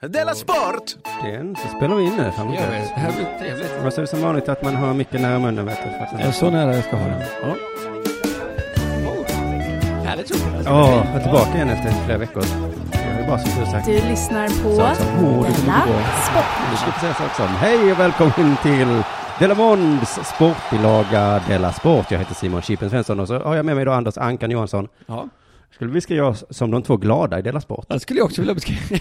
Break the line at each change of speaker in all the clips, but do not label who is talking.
Della Sport!
Den, så spelar vi in nu. Fan, vad
Gör vi.
gött.
Det här blir trevligt.
Vad så är det som vanligt att man har mycket nära munnen vet du. för att-
Ja, så nära jag ska ha den.
Ja.
Härligt roligt.
Ja, jag är tillbaka igen efter flera veckor. Jag är bara som du sagt.
Du lyssnar på
Så, så. Åh, det kommer
Della
inte gå.
Sport.
Du skulle säga saker som Hej och välkommen till Delamonds sportbilaga Della Sport. Jag heter Simon Chippen Svensson och så har jag med mig då Anders Ankan Johansson.
Ja,
Skulle vi skriva oss som de två glada i Della Sport?
det skulle jag också vilja beskriva.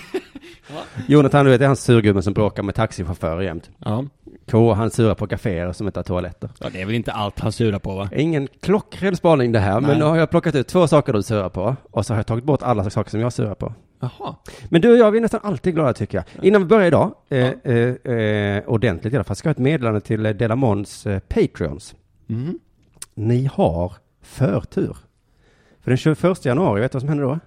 Jonathan, du vet, det är han surgubben som bråkar med taxichaufförer jämt.
Ja.
K, han surar på kaféer som inte har toaletter.
ja, det är väl inte allt han surar på va?
Ingen klockren spaning det här,
Nej.
men nu har jag plockat ut två saker du surar på och så har jag tagit bort alla saker som jag surar på.
Jaha.
Men du och jag, vi är nästan alltid glada tycker jag. Innan vi börjar idag, eh, eh, eh, ordentligt i alla fall, ska jag ha ett meddelande till eh, Delamons eh, Patreons.
Mm.
Ni har förtur. För den 21 januari, vet du vad som händer då?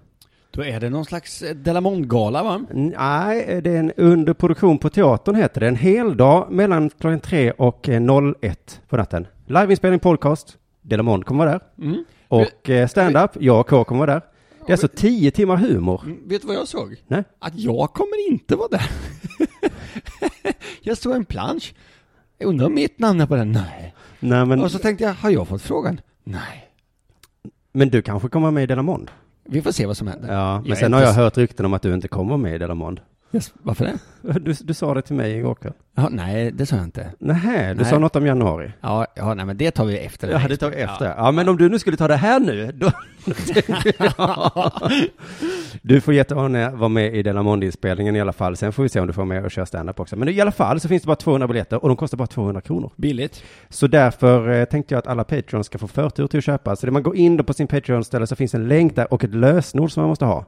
Då är det någon slags eh, Delamont-gala va?
Nej, eh, det är en underproduktion på teatern heter det. En hel dag mellan klockan 3 och eh, 01 på natten. Liveinspelning podcast. Delamond kommer vara där.
Mm.
Och eh, stand-up, jag och K kommer vara där. Det är alltså tio timmar humor.
Mm, Vet du vad jag såg?
Nej.
Att jag kommer inte vara där. jag såg en plansch. Jag undrar om mitt namn är på den? Nej.
Nej, men,
Och så tänkte jag, har jag fått frågan? Nej.
men du kanske kommer med i Delamond?
Vi får se vad som händer.
Ja, men
Jag är
sen har
inte
jag
s-
hört rykten om att du inte kommer med i Delamond.
Yes, Varför det?
Du, du sa det till mig igår kväll.
Ja, nej, det sa jag inte.
Nähä, du
Nej.
sa något om januari.
Ja, ja, nej men det tar vi efter.
Ja, det tar vi efter. Ja, men om du nu skulle ta det här nu, då Du får jättegärna vara med i Delamond-inspelningen i alla fall. Sen får vi se om du får med och köra stand-up också. Men i alla fall så finns det bara 200 biljetter och de kostar bara 200 kronor.
Billigt.
Så därför eh, tänkte jag att alla Patreons ska få förtur till att köpa. Så det man går in då på sin Patreon-ställe så finns en länk där och ett lösenord som man måste ha.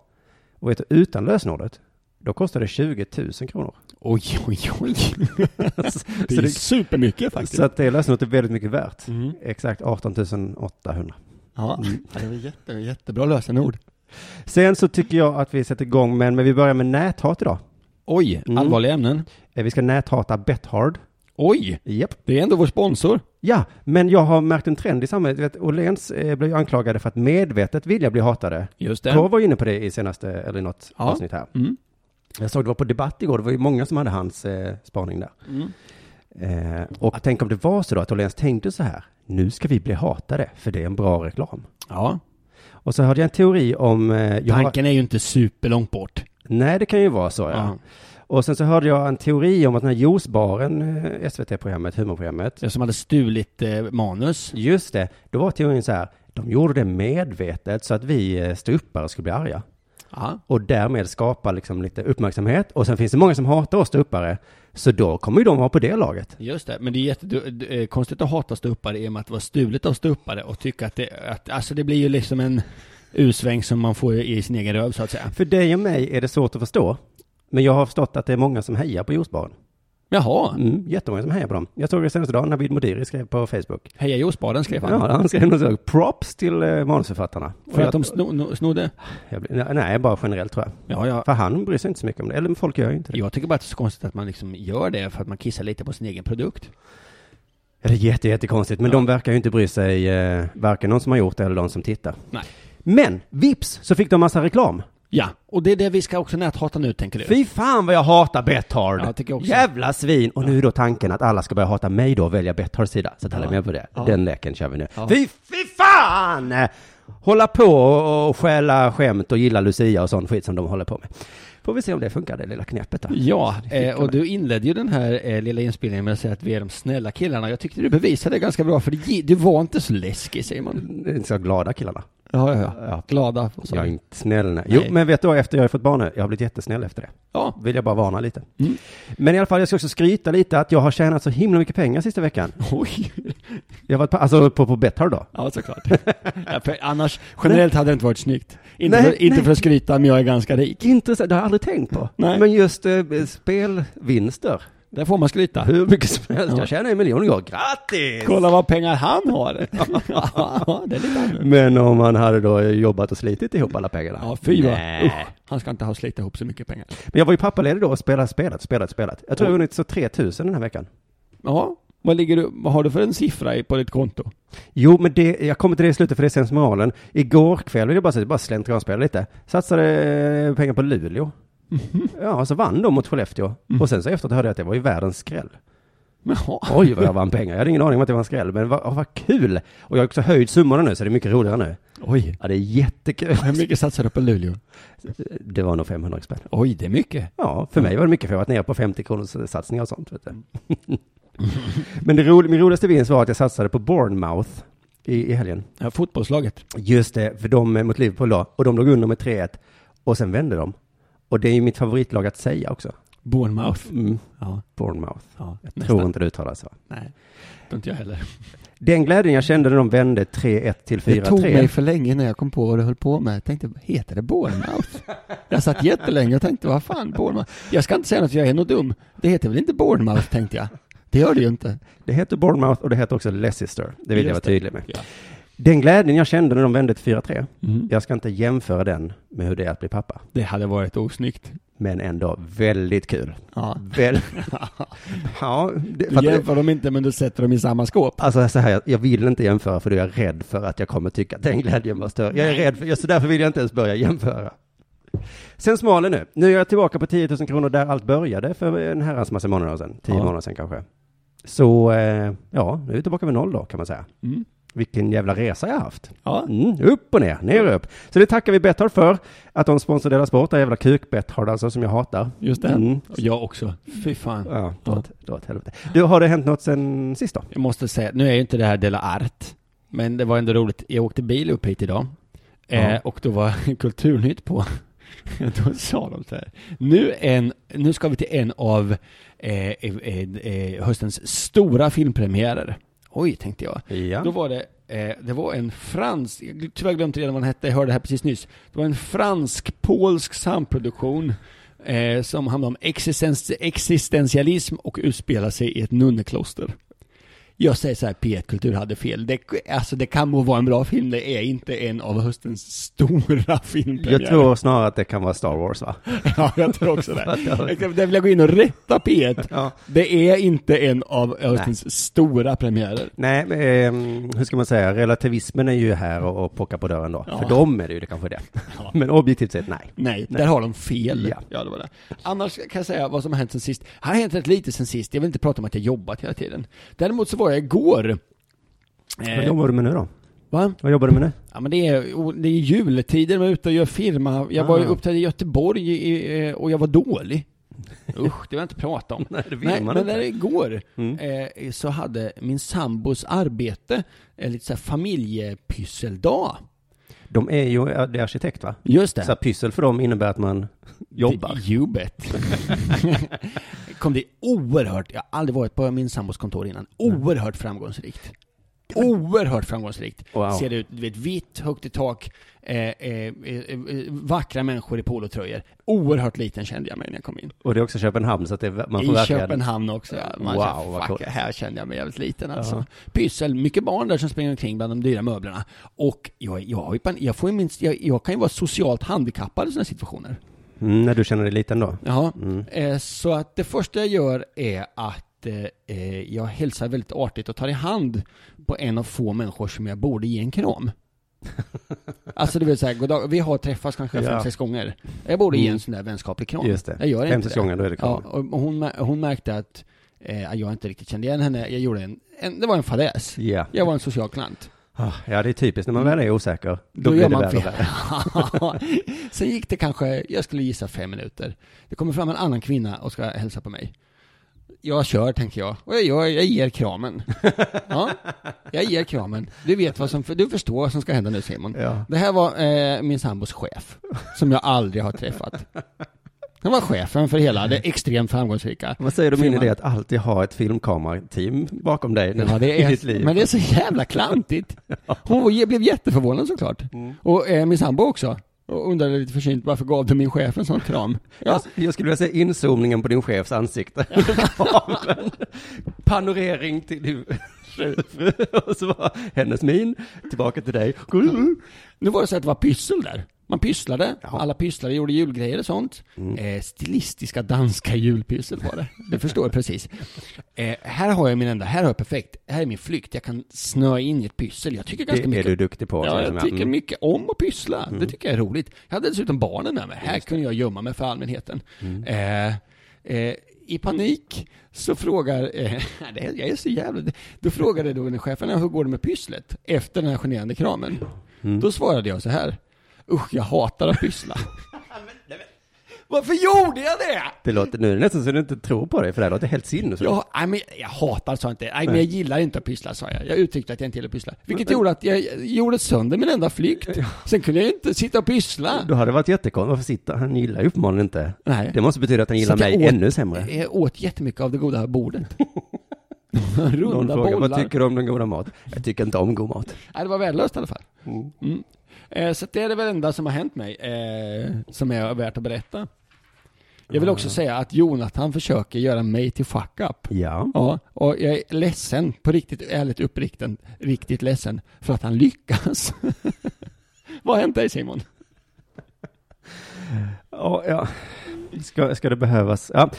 Och vet du, utan lösenordet, då kostar det 20 000 kronor.
Oj, oj, oj. Det
Så
är
det-
supermycket faktiskt.
Så att det lösenordet är väldigt mycket värt.
Mm.
Exakt 18 800.
Ja, Ja, det var jätte, jättebra lösenord.
Sen så tycker jag att vi sätter igång, men, men vi börjar med näthat idag.
Oj,
Mm.
allvarliga ämnen.
Eh, Vi ska näthata Bethard.
Oj,
Japp.
det är ändå vår sponsor.
Ja, men jag har märkt en trend i samhället. Du Vet, Åhléns eh, blev ju anklagade för att medvetet vilja bli hatade.
Just
K var inne på det i senaste, eller i något
Ja.
avsnitt här.
Mm.
Jag såg det var på debatt igår, det var ju många som hade hans eh, spaning där.
Mm.
Eh, och tänk om det var så då att Åhléns tänkte så här, nu ska vi bli hatade, för det är en bra reklam.
Ja,
Och så hörde jag en teori om... Eh, jag har-
tanken är ju inte superlångt bort.
Nej, det kan ju vara så ja.
Ja.
Och sen så hörde jag en teori om att den här juicebaren, eh, SVT-programmet, humorprogrammet,
Jag som hade stulit eh, manus.
Just det, då var teorin så här, de gjorde det medvetet så att vi eh, ståuppare skulle bli arga.
Ja.
Och därmed skapa liksom lite uppmärksamhet. Och sen finns det många som hatar oss ståuppare. Så då kommer ju de vara på det laget.
Just det, men det är jättekonstigt eh, att hata ståuppare i och med att vara stulet av ståuppare och tycka att det, att, alltså det blir ju liksom en usväng som man får i sin egen röv så att säga.
För dig och mig är det svårt att förstå. Men jag har förstått att det är många som hejar på juicebaren.
Jaha,
Mm, jättemånga som hejar på dem. Jag såg det senaste dagen, Navid Modiri skrev på Facebook.
heja juicebaren skrev han.
Ja, han skrev något sånt, props till eh, manusförfattarna. Och
För
jag,
att de sno, no, snodde?
jag, blev- nej, bara generellt tror jag.
Ja, ja.
För han bryr sig inte så mycket om det. Eller folk gör ju inte det.
Jag tycker bara att det är så konstigt att man liksom gör det för att man kissar lite på sin egen produkt.
Ja, Det är jätte, jättekonstigt, men
Ja.
de verkar ju inte bry sig, eh, varken de som har gjort det eller de som tittar.
Nej.
Men vips så fick de massa reklam.
Ja, och det är det vi ska också näthata nu tänker du?
Fy fan vad jag hatar Bethard!
Ja, tycker jag också.
Jävla svin! Och nu är då tanken att alla ska börja hata mig då och välja Bethards sida. Så att alla är med på det.
Ja.
Den leken kör vi nu.
Ja.
Fy, fy fan! Hålla på och, och stjäla skämt och gilla Lucia och sån skit som de håller på med. Får vi se om det funkar, det lilla knepet då.
Ja, eh, och du inledde ju den här eh, lilla inspelningen med att säga att vi är de snälla killarna. Jag tyckte du bevisade det ganska bra för det, du var inte så läskig Simon.
Det är inte så glada killarna.
Ja, ja, ja. Glada. och så.
Jag är inte snäll. Nej. Jo,
Mm. Nej.
men vet du vad? Efter jag har fått barn nu, jag har blivit jättesnäll efter det.
Ja.
vill jag bara varna lite.
Mm.
Men i alla fall, jag ska också skryta lite att jag har tjänat så himla mycket pengar sista veckan.
Oj.
Jag har varit på, alltså på, på Betthard då.
Ja, såklart. ja, för annars, generellt hade det inte varit snyggt. Inte,
Nej,
för, inte
nej.
för att skryta, men jag är ganska rik.
Intressant, det har jag aldrig tänkt på.
Nej.
Men just eh, spelvinster,
Där får man skryta.
hur mycket som helst.
Ja.
Jag tjänar en miljon igår, grattis!
Kolla vad pengar han har. ja, det är lite annorlunda.
Men om man hade då jobbat och slitit ihop alla pengarna.
Ja, fy vad.
Nej.
Usch, Han ska inte ha slitit ihop så mycket pengar.
Men jag var ju pappaledig då och spelade, spelat, spelat, spelat. Jag tror jag
Oj.
har vunnit så 3000 den här veckan.
Ja, vad, ligger du, vad har du för en siffra i- på ditt konto?
Jo, men det, jag kommer till det i slutet för det är sensmoralen. Igår kväll ville jag bara, säga, bara slentrianspela lite. Satsade eh, pengar på Luleå. Ja, så vann de mot Skellefteå. Och sen så efteråt hörde jag att det var ju världens skräll.
Jaha.
Oj, vad jag vann pengar. Jag hade ingen aning om att det var en skräll, men vad, åh, vad kul! Och jag har också höjt summorna nu, så det är mycket roligare nu.
Oj.
Ja, det är jättekul.
Hur mycket satsar du på Luleå?
Det var nog 500 spänn.
Oj, det är mycket.
Ja, för mig var det mycket, för jag har varit nere på 50 kronors satsningar och sånt. Vet du. Men det roliga, min roligaste vinst var att jag satsade på Bournemouth i, i helgen.
Ja, fotbollslaget.
Just det, för de eh, mot Liverpool då, och de låg under med 3-1, och sen vände de. Och det är ju mitt favoritlag att säga också.
Bournemouth.
Mm,
Ja,
Bournemouth.
ja. Jag
Tror inte det uttalas så.
Nej, det tror inte jag heller.
Den glädjen jag kände när de vände 3-1 till 4-3.
Det tog mig för länge när jag kom på vad du höll på med. Jag tänkte, heter det Bournemouth? jag satt jättelänge och tänkte, vad fan Bournemouth? Jag ska inte säga något, för jag är nog dum. Det heter väl inte Bournemouth, tänkte jag. Det gör det ju inte.
Det heter Bournemouth och det heter också Leicester. Det vill jag vara
Just
tydlig med.
Ja.
Den glädjen jag kände när de vände till 4-3,
Mm.
jag ska inte jämföra den med hur det är att bli pappa.
Det hade varit osnyggt.
Men ändå väldigt kul.
Ja.
Väl... ja, det, för
Du
att,
jämför dem inte, men du sätter dem i samma skåp.
alltså så här, jag, jag vill inte jämföra för då är jag rädd för att jag kommer tycka att den glädjen var större. Jag är rädd för, så därför vill jag inte ens börja jämföra. Sen smalen nu. Nu är jag tillbaka på 10 000 kronor där allt började för en herrans massa månader sedan. Tio
Ja.
månader sedan kanske. Så, eh, ja, nu är vi tillbaka vid noll då kan man säga.
Mm.
Vilken jävla resa jag har haft.
Ja.
Mm, upp och ner, ner och upp. Så det tackar vi Betthard för, att de sponsrar deras sport, det jävla kuk-Betthard alltså, som jag hatar.
Just det.
Mm.
Och Jag också. Fy fan.
Ja, dra åt, dra åt helvete. Du, har det hänt något sen sist då?
Jag måste säga, nu är ju inte det här Dela Art, men det var ändå roligt. Jag åkte bil upp hit idag
Ja.
eh, och då var Kulturnytt på. då sa de så här. Nu, en, nu ska vi till en av eh, eh, eh, höstens stora filmpremiärer. Oj, tänkte jag.
Ja.
Då var det, eh, det var en fransk, jag gl- tyvärr glömde redan vad den hette, jag hörde det här precis nyss. Det var en fransk-polsk samproduktion eh, som handlade om existens, existentialism och utspelar sig i ett nunnekloster. Jag säger så här, P1 Kultur hade fel. Det, alltså det kan må vara en bra film, det är inte en av höstens stora filmer.
Jag tror snarare att det kan vara Star Wars va?
Ja, jag tror också det. Jag- Där vill jag gå in och rätta P1.
Ja.
Det är inte en av höstens stora premiärer.
Nej, men, ehm, hur ska man säga, relativismen är ju här och, och pockar på dörren då.
Ja.
För dem är det ju det kanske det.
Ja.
Men objektivt sett, nej.
Nej, där har de fel.
Ja.
Ja. det var det. Annars kan jag säga vad som har hänt sen sist. Här har hänt rätt lite sen sist. Jag vill inte prata om att jag jobbat hela tiden. Däremot så var jag igår.
Vad
Eh,
jobbar du med nu då?
va?
Vad jobbar du med nu?
Ja men det är, o- det är jultider, man är ute och gör firma. Jag var ju
Ah.
uppträdde i Göteborg i, eh, och jag var dålig. Usch, det vill jag inte prata om.
Nej, det vill
Nej,
man
men
inte.
när det går
Mm.
eh, så hade min sambos arbete eh, lite så här familjepysseldag.
De är ju ja, det är arkitekt va?
Just
Så här, pyssel för dem innebär att man jobbar.
Det- You bet. Kom det oerhört, jag har aldrig varit på min sambos kontor innan, oerhört framgångsrikt. Oerhört framgångsrikt.
Wow.
Ser det ut, du vet, vitt, högt i tak, eh, eh, eh, eh, vackra människor i polotröjor. Oerhört liten kände jag mig när jag kom in.
Och det är också Köpenhamn, så att det, man får
I
verkligen-
Köpenhamn också. Ja. Man
Wow,
känner,
vad
fuck,
coolt."
här kände jag mig jävligt liten alltså. Pyssel, mycket barn där som springer omkring bland de dyra möblerna. Och jag, jag, har ju pan- jag, får ju minst, jag, jag kan ju vara socialt handikappad i sådana situationer.
Mm, när du känner dig liten då?
Ja,
Mm.
eh, så att det första jag gör är att eh, eh, jag hälsar väldigt artigt och tar i hand på en av få människor som jag borde ge en kram. alltså det vill säga, goddag, vi har träffats kanske
Ja.
fem, sex gånger. Jag borde ge
Mm.
en sån där vänskaplig kram.
Just det.
Jag gör inte
Femtes
det.
gången, då är det
Ja,
klart.
och hon, mär- hon märkte att eh, jag inte riktigt kände igen henne. Jag gjorde en, en det var en fadäs.
Ja.
Jag var en social klant.
Ah, Ja, det är typiskt. När man väl är osäker, då,
Mm. Då
blir
gör
det
man
värre och
fel.
värre.
Sen gick det kanske, jag skulle gissa fem minuter. Det kommer fram en annan kvinna och ska hälsa på mig. Jag kör, tänker jag. Och jag, gör, jag ger kramen. Ja, jag ger kramen. Du vet vad som, du förstår vad som ska hända nu Simon.
Ja.
Det här var eh, min sambos chef, som jag aldrig har träffat. Han var chefen för hela det extremt framgångsrika.
Vad säger du om min
Filmar.
idé att alltid ha ett filmkamerateam bakom dig nu,
Ja, det
i
är,
ditt liv?
Men det är så jävla klantigt. Hon var, blev jätteförvånad såklart.
Mm.
Och eh, min sambo också. Och undrade lite försynt varför gav du min chef en sån kram? Ja,
Jag, jag skulle vilja se inzoomningen på din chefs ansikte. Kameran. Panorering till din fru. Och så var hennes min, tillbaka till dig.
nu var det så att det var pyssel där. Man pysslade,
Ja. Mm.
alla pysslade, gjorde julgrejer och sånt. Eh, stilistiska danska julpyssel var det. Det förstår jag precis. Eh, här har jag min enda, här har jag perfekt, här är min flykt. Jag kan snöa in i ett pyssel. Jag tycker ganska
Det är
mycket
du duktig på.
Ja,
säger
jag
de här.
tycker
Mm.
mycket om att pyssla. Det tycker jag är roligt. Jag hade dessutom barnen med mig. Här kunde jag gömma mig för allmänheten.
Mm.
Eh, eh, I panik så frågar, eh, det är- jag är så jävla... Då frågade då chefen hur går det med pysslet efter den här generande kramen.
Mm.
Då svarade jag så här. Usch, jag hatar att pyssla. Varför gjorde jag det?
Det låter nu är det nästan så du inte tror på dig, för det här låter helt sinnessjukt.
Jag, nej, men jag hatar sa jag inte. Nej, men jag gillar inte att pyssla sa jag. Jag uttryckte att jag inte gillar att pyssla. Vilket gjorde att jag gjorde sönder min enda flykt. Sen kunde jag ju inte sitta och pyssla.
Då hade det varit jättekonstigt. Varför sitter han? Han gillar ju uppenbarligen inte.
Nej.
Det måste betyda att han
Så
gillar
att jag
mig
åt-
ännu sämre.
Jag åt jättemycket av det goda bordet.
Någon
Runda
frågar,
bollar.
vad tycker du om den goda mat? Jag tycker inte om god mat.
Nej, det var värdelöst i alla fall. Mm. Eh, så att det är det väl enda som har hänt mig, eh, som är värt att berätta. Jag vill också säga att Jonathan försöker göra mig till fuck up.
Ja.
Ja, och jag är ledsen, på riktigt ärligt uppriktigt, riktigt ledsen, för att han lyckas. Vad har hänt dig Simon?
Ja, ja. Ska, ska det behövas? Ja.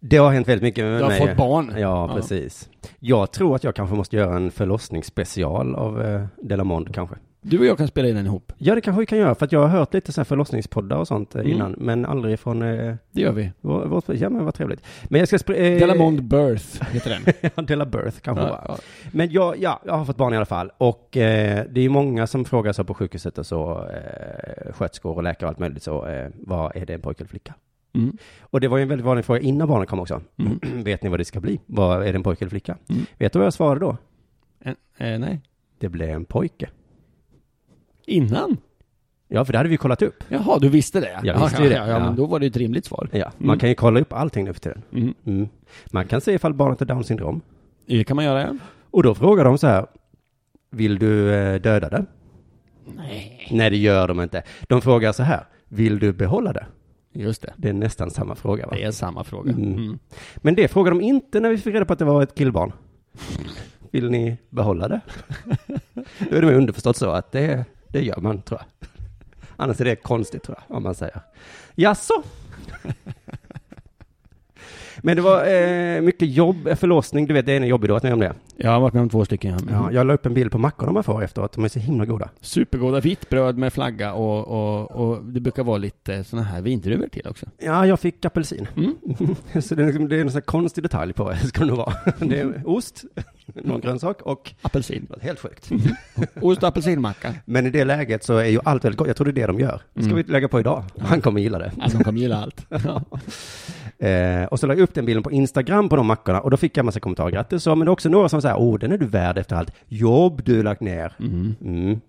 Det har hänt väldigt mycket med
Du har
mig.
fått barn.
Ja,
Ja.
precis. Jag tror att jag kanske måste göra en förlossningsspecial av eh, Delamond kanske.
Du och jag kan spela in den ihop.
Ja, det kanske vi kan göra, för att jag har hört lite så här förlossningspoddar och sånt eh,
Mm.
innan, men aldrig från eh,
Det gör vi.
vår, vårt, ja men vad trevligt. Men jag ska... Spri- eh,
Delamond Birth heter den.
Ja, Della Birth kanske det
Ja,
var.
ja.
Men jag, ja, jag har fått barn i alla fall. Och eh, det är ju många som frågar så på sjukhuset och så, eh, sköterskor och läkare och allt möjligt så, eh, vad är det en pojke eller flicka?
Mm.
Och det var ju en väldigt vanlig fråga innan barnen kom också.
Mm.
Vet ni vad det ska bli? Vad är det en pojke eller flicka?
Mm.
Vet du vad jag svarade då?
Eh, nej.
Det blev en pojke.
Innan?
Ja, för det hade vi ju kollat upp.
Jaha, du visste det?
Jag visste ju det,
Ja, ja, ja,
ja.
men då var det ju ett rimligt svar.
Ja, man kan ju kolla upp allting nu för tiden.
Mm.
Mm. Man kan se ifall barnet har down syndrom.
Det kan man göra, ja.
Och då frågar de så här, vill du eh, döda det?
Nej.
Nej, det gör de inte. De frågar så här, vill du behålla det?
Just det.
Det är nästan samma fråga va?
Det är samma fråga.
Mm.
Mm.
Men det frågade de inte när vi fick reda på att det var ett killbarn. Vill ni behålla det? Då är det väl underförstått så att det, det gör man tror jag. Annars är det konstigt tror jag, om man säger. Jaså? Men det var eh, mycket jobb, eh, förlossning, du vet det är en jobbig dag att ni om det. Mm.
Jag har varit med om två stycken. Ja.
Ja, jag la upp en bild på mackorna man får efteråt, de är så himla goda.
Supergoda vitt bröd med flagga och, och, och det brukar vara lite såna här vindruvor till också.
Ja, jag fick apelsin.
Mm.
så det är, liksom, det är en sån här konstig detalj på vad det ska nog vara. Det är ost, någon grönsak och
Apelsin.
något helt sjukt.
Ost och apelsinmacka.
Men i det läget så är ju allt väldigt gott. Jag tror det är det de gör. Ska
Mm.
vi lägga på idag? Han kommer gilla det.
Alltså de kommer gilla allt. Ja.
Eh, och så la jag upp den bilden på Instagram på de mackorna och då fick jag massa kommentarer. Grattis så, men det är också några som säger, oh den är du värd efter allt jobb du lagt ner.
Mm.
Mm.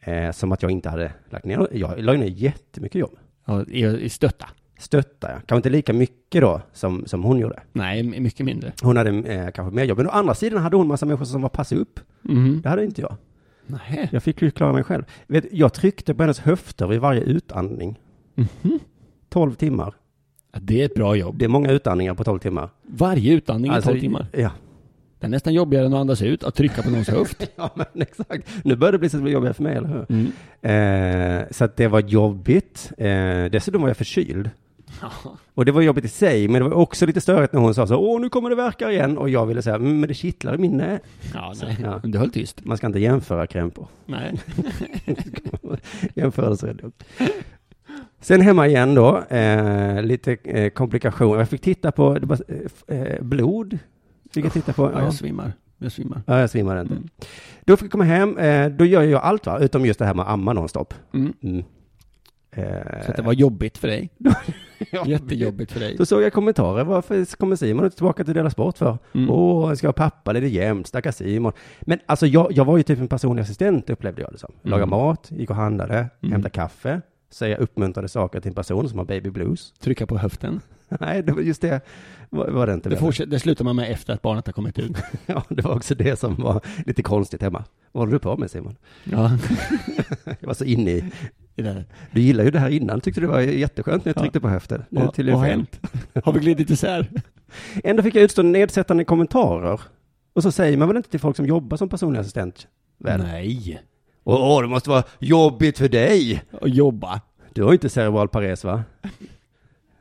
Eh, som att jag inte hade lagt ner. Jag la ju ner jättemycket jobb.
Ja, i, I stötta.
Stöttar jag. Kanske inte lika mycket då som, som hon gjorde.
Nej, m- mycket mindre.
Hon hade eh, kanske mer jobb. Men å andra sidan hade hon massa människor som var pass upp.
Mm.
Det hade inte jag.
Nej.
Jag fick ju klara mig själv. Vet, jag tryckte på hennes höfter vid varje utandning. Mm-hmm. 12 timmar.
Ja, det är ett bra jobb.
Det är många utandningar på 12 timmar. Alltså,
Varje utandning är 12 timmar.
Ja.
Det är nästan jobbigare än att andas ut, att trycka på någons höft.
ja, men exakt. Nu börjar det bli så att det blir jobbigare för mig, eller hur? Eh, så att det var jobbigt. Eh, dessutom var jag förkyld. Och det var jobbigt i sig, men det var också lite störigt när hon sa så, åh, nu kommer det verka igen. Och jag ville säga, "Mm, men det kittlar i min nä.
Ja, nej.
Ja.
Du höll tyst.
Man ska inte jämföra krämpor.
Nej.
Jämförelse är dumt. Sen hemma igen då, eh, lite eh, komplikationer. Jag fick titta på det var, eh, f- eh, blod. Fick jag titta på.
Ja,
Ja.
jag svimmar. Jag svimmar. Mm.
Ja, jag svimmade inte. Då fick jag komma hem, eh, då gör jag allt va, utom just det här med att amma nonstop.
Mm.
Mm.
Så att det
Eh,
var jobbigt för dig.
Jobbigt.
Jättejobbigt för dig.
då såg jag kommentarer, varför kommer Simon inte tillbaka till Dela Sport för?
Mm.
Åh, han ska ha pappa, det är jämnt, stackars Simon. Men alltså jag, jag var ju typ en personlig assistent upplevde jag det som. Laga
Mm.
mat, gick och handlade,
Mm.
hämtade kaffe, säga uppmuntrande saker till en person som har baby blues.
Trycka på höften.
Nej, det var just det var, var det inte.
Det,
väl?
fortsätter, det slutar man med efter att barnet har kommit ut.
Ja, det var också det som var lite konstigt hemma. Vad håller du på med Simon?
Ja.
Jag var så inne i,
Det där.
du gillade ju det här innan, tyckte det var jätteskönt när jag
Ja.
tryckte på höften. Nu
Vad
tydligen
vad har
fel.
hänt? Har vi glidit isär?
Ändå fick jag utstå nedsättande kommentarer. Och så säger man väl inte till folk som jobbar som personlig assistent? Väl?
Nej.
Åh, det måste vara jobbigt för dig.
och jobba.
Du har inte cerebral pares, va?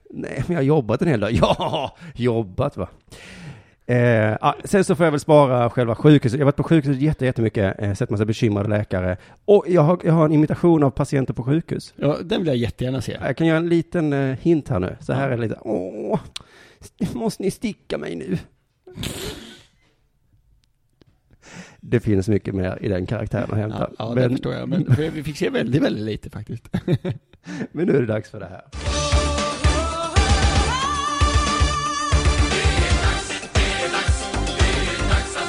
Nej, men jag har jobbat en hel dag. Ja, jobbat va. Eh, ah, sen så får jag väl spara själva sjukhuset. Jag har varit på sjukhuset jätte- jättemycket, eh, sett massa bekymrade läkare. Och jag har, jag har en imitation av patienter på sjukhus.
Ja, den vill jag jättegärna se.
Jag kan göra en liten eh, hint här nu. Så här är det lite, åh, måste ni sticka mig nu? Det finns mycket mer i den karaktären att hämta.
Ja, ja det
men,
förstår jag. Men för vi fick se väldigt, väldigt lite faktiskt.
men nu är det dags för det här.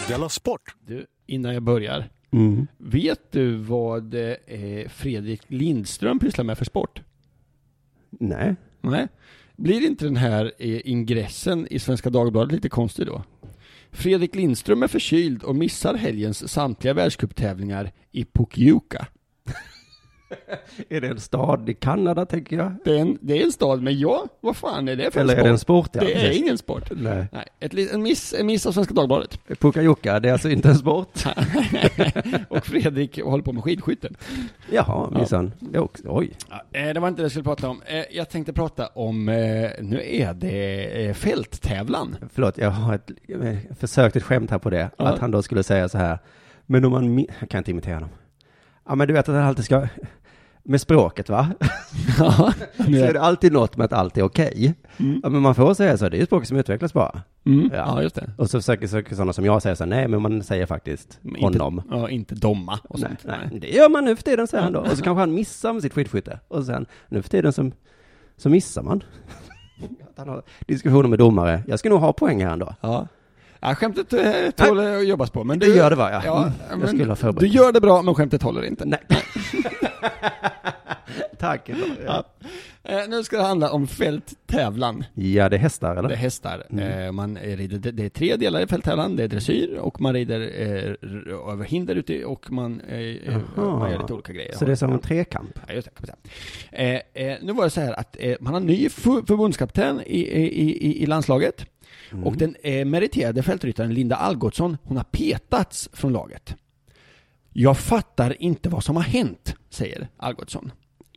Della Sport!
Du, innan jag börjar. Vet du vad eh, Fredrik Lindström pysslar med för sport?
Nej,
Nej. Blir inte den här eh, ingressen i Svenska Dagbladet lite konstig då? Fredrik Lindström är förkyld och missar helgens samtliga världscuptävlingar i Pukyuka.
är det en stad i Kanada tänker jag?
Det är, en, det är en stad, men ja, vad fan är det för en
Eller
sport?
är det en sport? Ja,
Det är
precis.
ingen sport.
Nej.
Nej, ett, li- en, miss, en miss av Svenska Dagbladet.
Pukajuka, det är alltså inte en sport?
och Fredrik håller på med skidskytte.
Jaha, minsann. Det är också- Oj.
Ja, eh, det var inte det jag skulle prata om. Eh, Jag tänkte prata om, eh, nu är det eh, fälttävlan.
Förlåt, jag har ett, jag försökt ett skämt här på det.
Ja.
Att han då skulle säga så här. Men om man... mi- Jag kan inte imitera honom. Ja, men du vet att han alltid ska... Med språket, va?
Ja,
Så är det alltid något med att allt är okej. Ja, men man får säga så. Det är ju språket som utvecklas bara.
mm.
Ja.
ja just det.
Och så försöker, försöker sådana som jag säga så här, nej, men man säger faktiskt
Men inte-
honom.
Ja, inte domma och
Nej,
sånt.
nej, det gör man nu för tiden, säger han då. Och så kanske han missar med sitt skidskytte. Och sen, nu för tiden så, så missar man. Att han har diskussioner med domare. Jag ska nog ha poäng här ändå.
Ja. Ja, skämtet eh, tål eh, att jobbas på, men
Det
du...
gör det va? Ja.
Ja,
Mm, jag
men
skulle ha
Du
förberett.
gör det bra, men skämtet håller inte.
Nej. Tack. ändå. Ja.
Eh, nu ska det handla om fälttävlan.
ja, det är hästar eller? Mm.
Det är hästar. Eh, man eh, rider, det, det är tre delar i fälttävlan. Det är dressyr och man rider eh, r- över hinder ute och man, eh, eh,
Jaha.
man gör lite olika grejer.
Så det är som en trekamp.
Ja, just det, kan man säga. Eh, eh, nu var det så här att eh, man har ny fu- förbundskapten i, i, i, i landslaget.
Mm.
Och den eh, meriterade fältryttaren Linda Algotsson, hon har petats från laget. Jag fattar inte vad som har hänt, säger Algotsson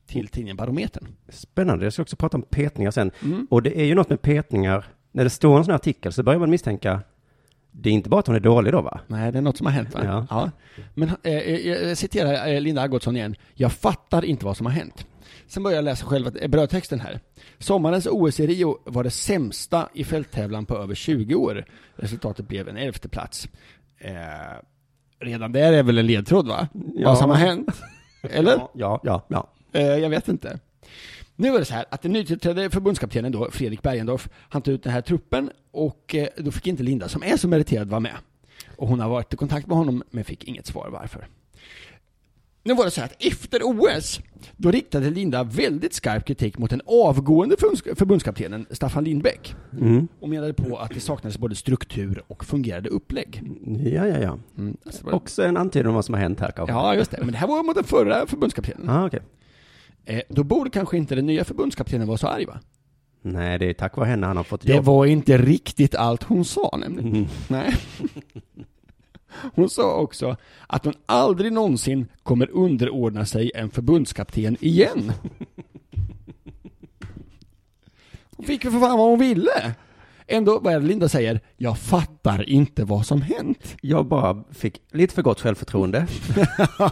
till tidningen Barometern.
Spännande. Jag ska också prata om petningar sen.
Mm.
Och det är ju något med petningar. När det står en sån här artikel så börjar man misstänka. Det är inte bara att hon är dålig då va?
Nej, det är något som har hänt va?
Ja.
Men eh, eh, jag citerar eh, Linda Algotsson igen. Jag fattar inte vad som har hänt. Sen börjar jag läsa själva eh, brödtexten här. Sommarens OS i Rio var det sämsta i fälttävlan på över 20 år. Resultatet blev en elfte plats. Eh, redan där är väl en ledtråd va?
Ja.
Vad som har hänt? Eller?
Ja, ja, ja.
Eh, jag vet inte. Nu är det så här att den nytillträdde förbundskaptenen då, Fredrik Bergendorf, han tog ut den här truppen och eh, då fick inte Linda, som är så meriterad, vara med. Och hon har varit i kontakt med honom men fick inget svar varför. Nu var det så här att efter OS, då riktade Linda väldigt skarp kritik mot den avgående förbunds- förbundskaptenen Staffan Lindbäck.
Mm.
Och menade på att det saknades både struktur och fungerade upplägg.
Ja, ja, ja.
Mm, alltså bara-
Också en antydan om vad som har hänt här kanske.
Ja, just det. Men det här var mot den förra förbundskaptenen.
Ah, okej.
Eh, då borde kanske inte den nya förbundskaptenen vara så arg va?
Nej, det är tack vare henne han har fått
Det
jobb.
var inte riktigt allt hon sa nämligen. Nej. Hon sa också att hon aldrig någonsin kommer underordna sig en förbundskapten igen. Hon fick ju för fan vad hon ville. Ändå, vad är det Linda säger? Jag fattar inte vad som hänt.
Jag bara fick lite för gott självförtroende.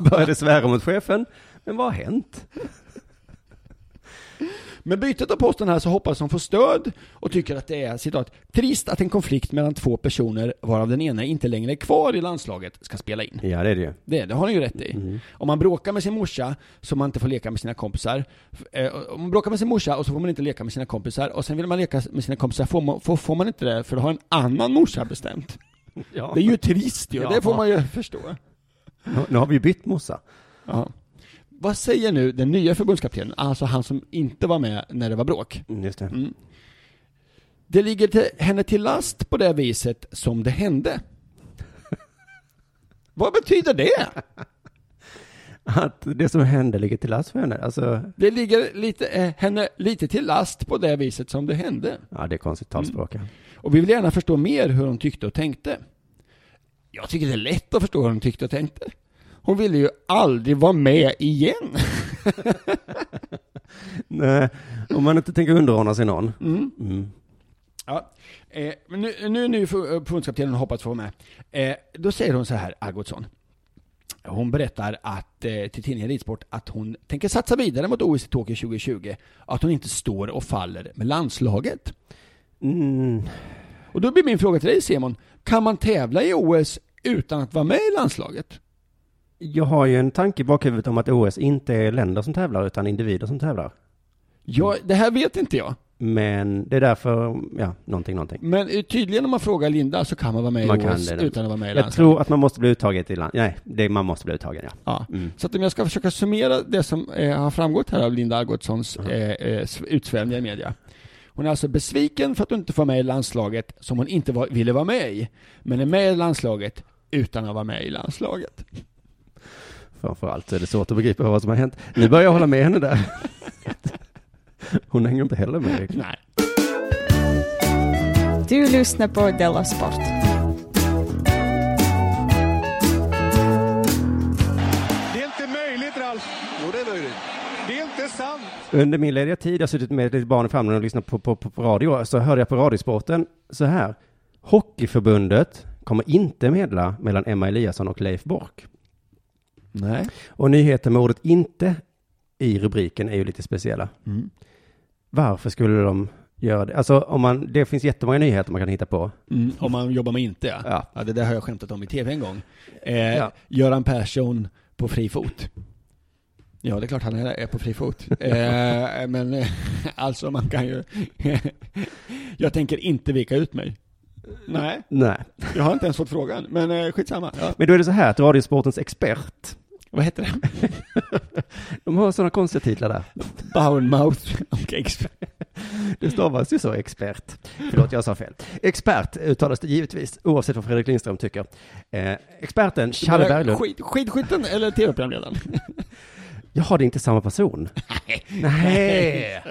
Började svära mot chefen. Men vad har hänt?
Med bytet av posten här så hoppas hon få stöd och tycker att det är citat trist att en konflikt mellan två personer varav den ena inte längre är kvar i landslaget ska spela in.
Ja, det är det ju.
Det, det har han ju rätt i.
Mm.
Om man bråkar med sin morsa så man inte får leka med sina kompisar. f- eh, Om man bråkar med sin morsa och så får man inte leka med sina kompisar och sen vill man leka med sina kompisar får man, får, får man inte det för då har en annan morsa bestämt.
Ja.
Det är ju trist ju,
Ja.
det får man ju förstå.
Nu, nu har vi ju bytt morsa.
Ja. Vad säger nu den nya förbundskaptenen, alltså han som inte var med när det var bråk?
Mm, Just det.
Det ligger till, henne till last på det viset som det hände. Vad betyder det?
Att det som hände ligger till last för henne. Alltså,
Det ligger lite, eh, henne lite till last på det viset som det hände.
ja, det är konstigt talspråk. ja.
Och vi vill gärna förstå mer hur hon tyckte och tänkte. Jag tycker det är lätt att förstå hur hon tyckte och tänkte. Hon ville ju aldrig vara med igen.
Nej, om man inte tänker underordna sig någon. Mm.
Ja, eh, men nu, nu är ny fu- eh, förbundskaptenen och hoppas få vara med. Eh, då säger hon så här, Algotsson. Hon berättar att, eh, till tidningen Ridsport att hon tänker satsa vidare mot OS i Tokyo 2020. Att hon inte står och faller med landslaget.
Mm.
Och då blir min fråga till dig Simon, kan man tävla i OS utan att vara med i landslaget?
Jag har ju en tanke i bakhuvudet om att OS inte är länder som tävlar utan individer som tävlar.
Ja, det här vet inte jag.
Men det är därför, ja, någonting, någonting.
Men eh, tydligen om man frågar Linda så kan man vara med
Man
i
kan
OS
det. alltså-
utan att vara med i
Jag
landslaget.
tror att man måste bli uttagen till land. Nej, det, man måste bli uttagen, ja.
Ja.
Mm.
Så att om jag ska försöka summera det som eh, har framgått här av Linda Algotssons eh, eh, sv- utsvävningar i media. Hon är alltså besviken för att hon inte får med i landslaget som hon inte var, ville vara med i. Men är med i landslaget utan att vara med i landslaget.
Framförallt är det svårt att begripa vad som har hänt. Nu börjar jag hålla med henne där. Hon hänger inte heller med. riktigt.
Nej.
Du lyssnar på Della Sport.
Det är inte möjligt, Ralf. Jo, det är möjligt. Det är inte sant.
Under min lediga tid, jag har suttit med ett litet barn i famnen och lyssnat på, på, på, på radio, så hörde jag på Radiosporten så här. Hockeyförbundet kommer inte medla mellan Emma Eliasson och Leif Bork.
Nej.
Och nyheten med ordet inte i rubriken är ju lite speciella.
Mm.
Varför skulle de göra det? Alltså, om man, det finns jättemånga nyheter man kan hitta på.
Mm, om man jobbar med inte ja.
Ja.
ja. det där har jag skämtat om i tv en gång. Eh,
Ja.
Göran Persson på fri fot. Ja, det är klart han är är på fri fot. Eh, men eh, alltså man kan ju... jag tänker inte vika ut mig. Nej,
Nej.
jag har inte ens fått frågan. Men eh, skitsamma. Ja.
Men då är det så här att Radiosportens expert,
Vad heter det?
de har sådana konstiga titlar där.
Bournemouth och expert.
Det stavas ju så, expert. Förlåt, jag sa fel. Expert uttalas det givetvis, oavsett vad Fredrik Lindström tycker. Eh, experten, Challe Berglund.
Skid, skidskytten eller tv-programledaren?
Jaha, det är inte samma person. Nej.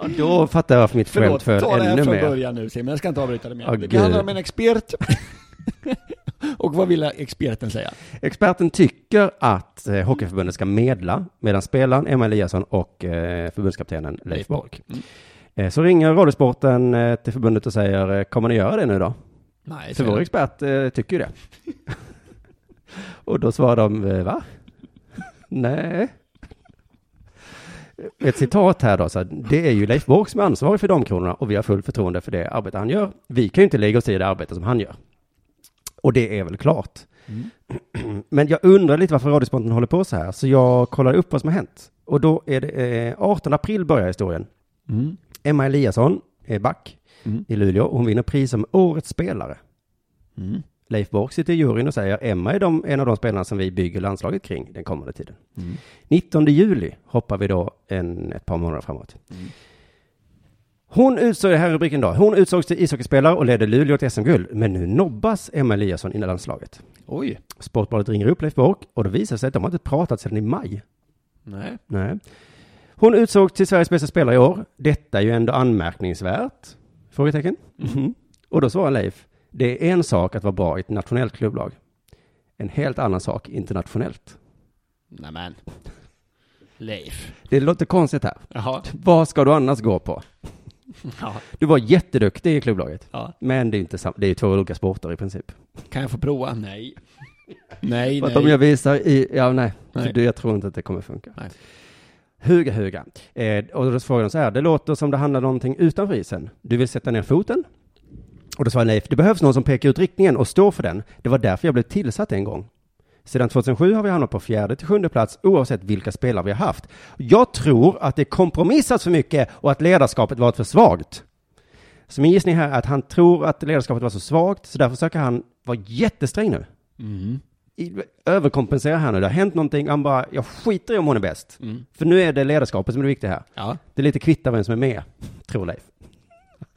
Ja, Då fattar jag varför mitt skämt
Förlåt,
för
ta det här
ännu
från
mer.
början nu Simon, jag ska inte avbryta det mer.
Åh,
det
Gud.
handlar om en expert. och vad vill experten säga?
Experten tycker att eh, Hockeyförbundet ska medla mellan spelaren Emma Eliasson och eh, förbundskaptenen Leif Bork.
Mm.
Eh, så ringer Radiosporten eh, till förbundet och säger, eh, kommer ni göra det nu då?
Nej,
Så vår expert eh, tycker ju det. och då svarar de, eh, va? Nej. Ett citat här då, så här, det är ju Leif Bork som är ansvarig för de kronorna och vi har fullt förtroende för det arbete han gör. Vi kan ju inte lägga oss i det arbete som han gör. Och det är väl klart.
Mm.
Ehm, Men jag undrar lite varför Radiosponten håller på så här, så jag kollar upp vad som har hänt. Och då är det eh, 18 april börjar historien. Emma Eliasson är back i Luleå och hon vinner pris som Årets spelare. Leif Bork sitter i juryn och säger Emma är de, en av de spelarna som vi bygger landslaget kring den kommande tiden. 19 juli hoppar vi då en, ett par månader framåt. Hon utsåg, det här är rubriken då, hon utsågs till ishockeyspelare och ledde Luleå till SM-guld, men nu nobbas Emma Eliasson i landslaget.
Oj.
Sportbladet ringer upp Leif Bork och det visar sig att de har inte pratat sedan i maj.
Nej.
Nej. Hon utsågs till Sveriges bästa spelare i år. Detta är ju ändå anmärkningsvärt? Frågetecken. Mhm. Och då svarar Leif, det är en sak att vara bra i ett nationellt klubblag. En helt annan sak internationellt.
Nämen. Leif.
Det låter konstigt här.
Jaha.
Vad ska du annars gå på?
Ja.
Du var jätteduktig i klubblaget.
ja.
Men det är ju inte sam- det är ju två olika sporter i princip.
Kan jag få prova? Nej. Nej,
För att
nej.
om jag visar i, ja nej,
Nej.
Du, jag tror inte att det kommer funka.
Nej.
Huga, huga. Eh, och då frågar de så här, det låter som det handlar om någonting utanför isen. Du vill sätta ner foten? Och då svarar Leif, det behövs någon som pekar ut riktningen och står för den. Det var därför jag blev tillsatt en gång. Sedan 2007 har vi hamnat på fjärde till sjunde plats oavsett vilka spelare vi har haft. Jag tror att det kompromissats för mycket och att ledarskapet varit för svagt. Så min gissning här är att han tror att ledarskapet var så svagt så därför försöker han vara jättesträng nu
Mm.
i- överkompensera här nu. Det har hänt någonting. Han bara, jag skiter i om hon är bäst. För nu är det ledarskapet som är det viktiga här.
Ja.
Det är lite kvittar vem som är med, tror Leif.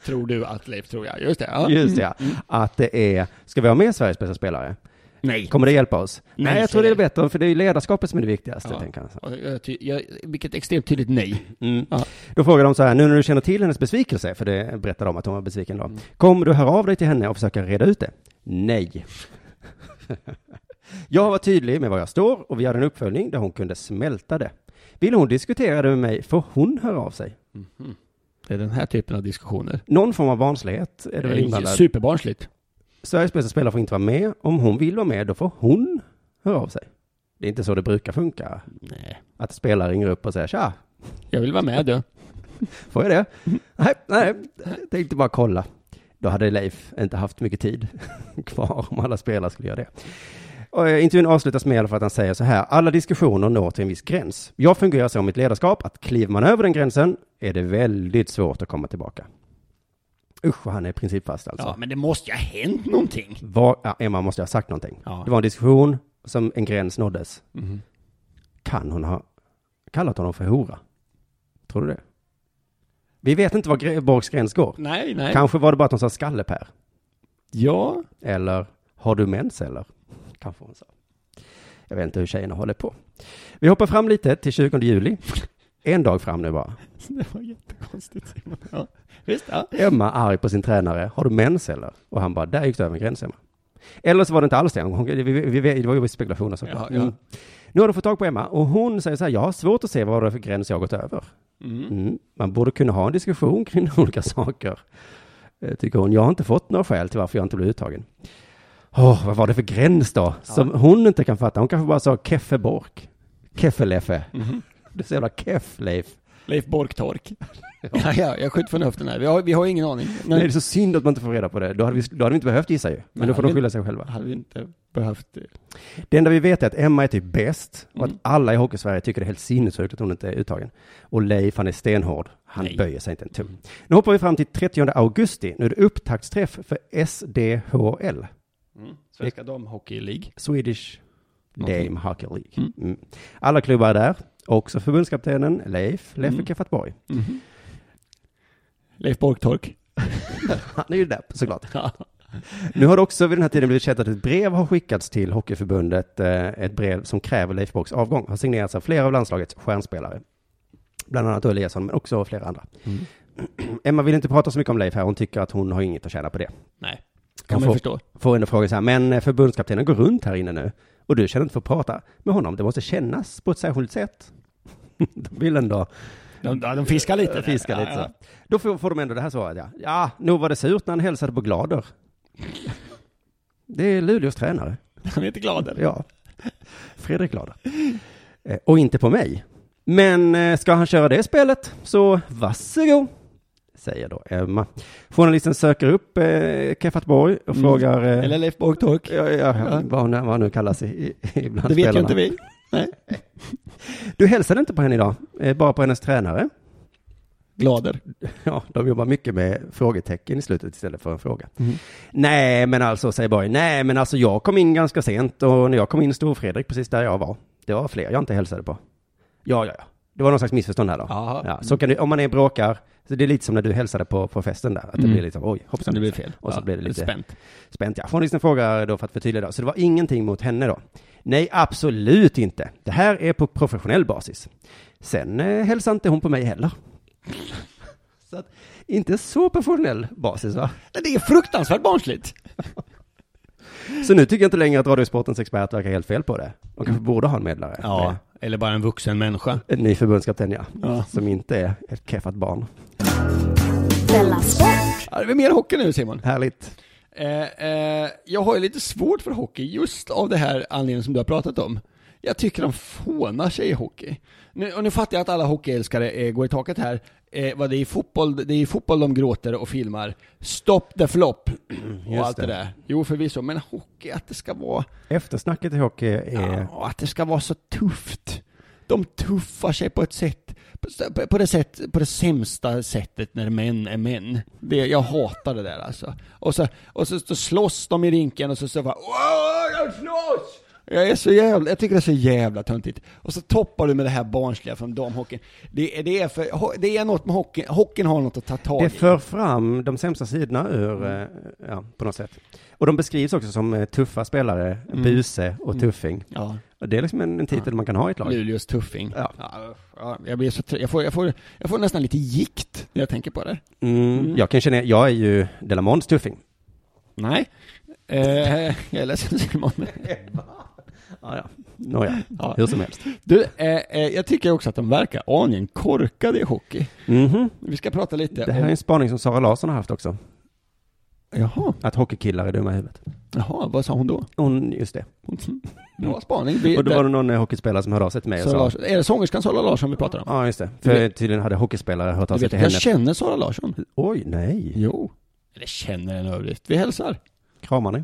Tror du att Leif tror jag? Just det. Ja.
Just det, ja. Att det är, ska vi ha med Sveriges bästa spelare?
Nej.
Kommer det hjälpa oss? Nej,
Nej,
jag tror det är
säger
bättre, för det är ju ledarskapet som är det viktigaste,
Ja.
tänker han. så.
Och jag ty- jag, vilket extremt tydligt nej.
Mm.
Ja.
Då frågar de så här, nu när du känner till hennes besvikelse, för det berättade de att hon var besviken då. Kommer du höra av dig till henne och försöka reda ut det? Nej. Jag var tydlig med var jag står och vi hade en uppföljning där hon kunde smälta det. Vill hon diskutera det med mig får hon höra av sig.
Det är den här typen av diskussioner.
Någon form av barnslighet är det väl
Det är
inblandad.
superbarnsligt.
Sveriges bästa spelare får inte vara med. Om hon vill vara med, då får hon höra av sig. Det är inte så det brukar funka.
Nej.
Att spelare ringer upp och säger tja,
Jag vill vara med du.
får jag det? Nej, nej, tänkte bara kolla. Då hade Leif inte haft mycket tid kvar om alla spelare skulle göra det. Och eh, intervjun avslutas med i alla fall att han säger så här. Alla diskussioner når till en viss gräns. Jag fungerar så i mitt ledarskap att kliver man över den gränsen är det väldigt svårt att komma tillbaka. Usch, vad han är principfast alltså.
Ja, men det måste ju ha hänt någonting.
Var, ja, Emma måste ha sagt någonting.
Ja. Mhm.
Det var en diskussion som en gräns nåddes. Kan hon ha kallat honom för hora? Tror du det? Vi vet inte var Gre- Borgs gräns går.
Nej, nej.
Kanske var det bara att hon sa skallepär.
Ja.
Eller har du mens eller? Kanske hon sa. Jag vet inte hur tjejerna håller på. Vi hoppar fram lite till 20 juli. En dag fram nu bara.
Det var jättekonstigt Simon. Ja. Visst, ja.
Emma arg på sin tränare. Har du mens eller? Och han bara, där gick du över en gräns Emma. Eller så var det inte alls det. Hon- Vi, vi, vi, det var ju spekulationer såklart.
Ja, ja.
Mm. Nu har de fått tag på Emma och hon säger så här, jag har svårt att se vad det är för gräns jag har gått över. Mm. Man borde kunna ha en diskussion kring olika saker, eh, tycker hon. Jag har inte fått några skäl till varför jag inte blev uttagen. Åh, vad var det för gräns då? Som hon inte kan fatta. Hon kanske bara sa keffebork. Keffeleffe.
Mm.
Du är så jävla keff, Leif.
Leif Borktork. Ja, ja, jag skjuter från höften här. Vi har, vi har ingen aning.
Nej. det är så synd att man inte får reda på det. Då hade vi, då hade vi inte behövt gissa ju. Men
Nej,
då får de
men-
skylla sig själva.
Hade vi inte behövt eh, det.
Det enda vi vet är att Emma är typ bäst och att
Mm.
alla i Hockeysverige tycker det är helt sinnessjukt att hon inte är uttagen. Och Leif, han är stenhård. Han
Nej.
böjer sig inte en tum. Nu hoppar vi fram till 30 augusti. Nu är det upptaktsträff för SDHL,
Svenska Damhockey League.
Swedish
Någonting.
Dame Hockey League.
Mm.
Mm. Alla klubbar är där, också förbundskaptenen Leif, Leffe
Mm.
Keffatborg.
Leif Borktork.
Han är ju där såklart.
Ja.
Nu har det också vid den här tiden blivit känt att ett brev har skickats till Hockeyförbundet, eh, ett brev som kräver Leif Borgs avgång, har signerats av flera av landslagets stjärnspelare. Bland annat Eliasson, men också flera andra. Emma vill inte prata så mycket om Leif här, hon tycker att hon har inget att tjäna på det.
Nej.
Hon
Kan man
får-
ju förstå.
Får ändå frågan så här, men eh, förbundskaptenen går runt här inne nu, och du känner inte för att prata med honom, det måste kännas på ett särskilt sätt. De vill ändå
De, ja, de fiskar lite. där.
fiska lite
Ja,
så.
ja.
Då får, får de ändå det här svaret, ja. Ja, nog var det surt när han hälsade på Glader. Det är Luleås tränare.
Han är inte glad eller?
Ja. Fredrik Lader. Eh, Och inte på mig. Men eh, ska han köra det spelet så varsågod, säger då Emma. Journalisten söker upp eh, Keffat Borg och frågar eh,
Mm. Eller Leif Borktork.
ja, ja, ja, vad, hon, vad hon nu kallas i, i, ibland
Det vet ju
spelarna.
inte vi.
Du hälsade inte på henne idag, eh, bara på hennes tränare.
Glader.
Ja, de jobbar mycket med frågetecken i slutet istället för en fråga.
Mm.
Nej, men alltså, säger Borg, nej, men alltså jag kom in ganska sent och när jag kom in stod Fredrik precis där jag var. Det var fler jag inte hälsade på. Ja, ja, ja. Det var någon slags missförstånd här då.
Jaha.
Ja, så kan du, om man är bråkar, så det är lite som när du hälsade på, på festen där, att det
Mm.
blir liksom, oj, hoppsan.
Det blir fel.
Och så
Ja,
blir det lite
Spänt.
spänt. Ja. Journalisten frågar då för att förtydliga då, så det var ingenting mot henne då? Nej, absolut inte. Det här är på professionell basis. Sen eh, hälsade inte hon på mig heller. Så att, inte så professionell basis va?
Nej, Det är fruktansvärt barnsligt.
Så nu tycker jag inte längre att Radiosportens expert verkar helt fel på det. De kanske borde ha en medlare.
Ja,
Nej.
eller bara en vuxen människa.
En ny förbundskapten ja.
Ja.
Som inte är ett keffat barn.
Ja, det blir mer hockey nu Simon.
Härligt.
Eh, eh, jag har ju lite svårt för hockey just av det här anledningen som du har pratat om. Jag tycker de fånar sig i hockey. Nu, och nu fattar jag att alla hockeyälskare eh, går i taket här. Eh, vad det, är i fotboll, det är i fotboll de gråter och filmar. Stopp the flop och
Just
allt det.
det.
där. Jo förvisso, men hockey, att det ska vara,
Eftersnacket i hockey är...
ja, Eh, att det ska vara så tufft. De tuffar sig på ett sätt, på- på det, sätt, på det sämsta sättet när män är män. Det, jag hatar det där alltså. Och så, och så, så slåss de i rinken och så, så bara Åh, jag slåss! Jag är så jävla, jag tycker det är så jävla töntigt. Och så toppar du med det här barnsliga från damhockeyn. Det, är- det är för, ho- det är något med hockeyn, hockeyn har något att ta tag i.
Det för fram de sämsta sidorna ur,
Mm.
eh, ja, på något sätt. Och de beskrivs också som eh, tuffa spelare, buse och tuffing.
Mm. Ja,
Och det är liksom en, en titel man kan ha i ett lag.
Luleås tuffing.
Ja.
Ja, ja, jag blir så trö- jag får, jag, får, jag får nästan lite gikt när jag tänker på det.
Mm. Jag kan känna, jag är ju Delamonts tuffing.
Nej. Eh, jag är ledsen Simon.
Ja, ja. Nåja,
Ja.
hur som helst.
Du, eh, eh, jag tycker också att de verkar aningen korkade i hockey.
Mhm.
Vi ska prata lite
Det här är en spaning som Sara Larsson har haft också.
om... Jaha,
Att hockeykillar är dumma i huvudet.
jaha, vad sa hon då?
Hon, just det.
Hon- Bra spaning. Vi,
Mm. Och då
där-
var det någon eh, hockeyspelare som hörde av sig till mig och
Sara
sa...
Larsson. Är det sångerskan Sara Larsson vi pratar om?
Ja, just det.
Du
För
vet-
tydligen hade hockeyspelare hört av
du
sig
vet,
till
jag
henne.
känner Sara Larsson.
Oj, nej.
Jo. Eller känner en överdrift. Vi hälsar.
Kramar ni?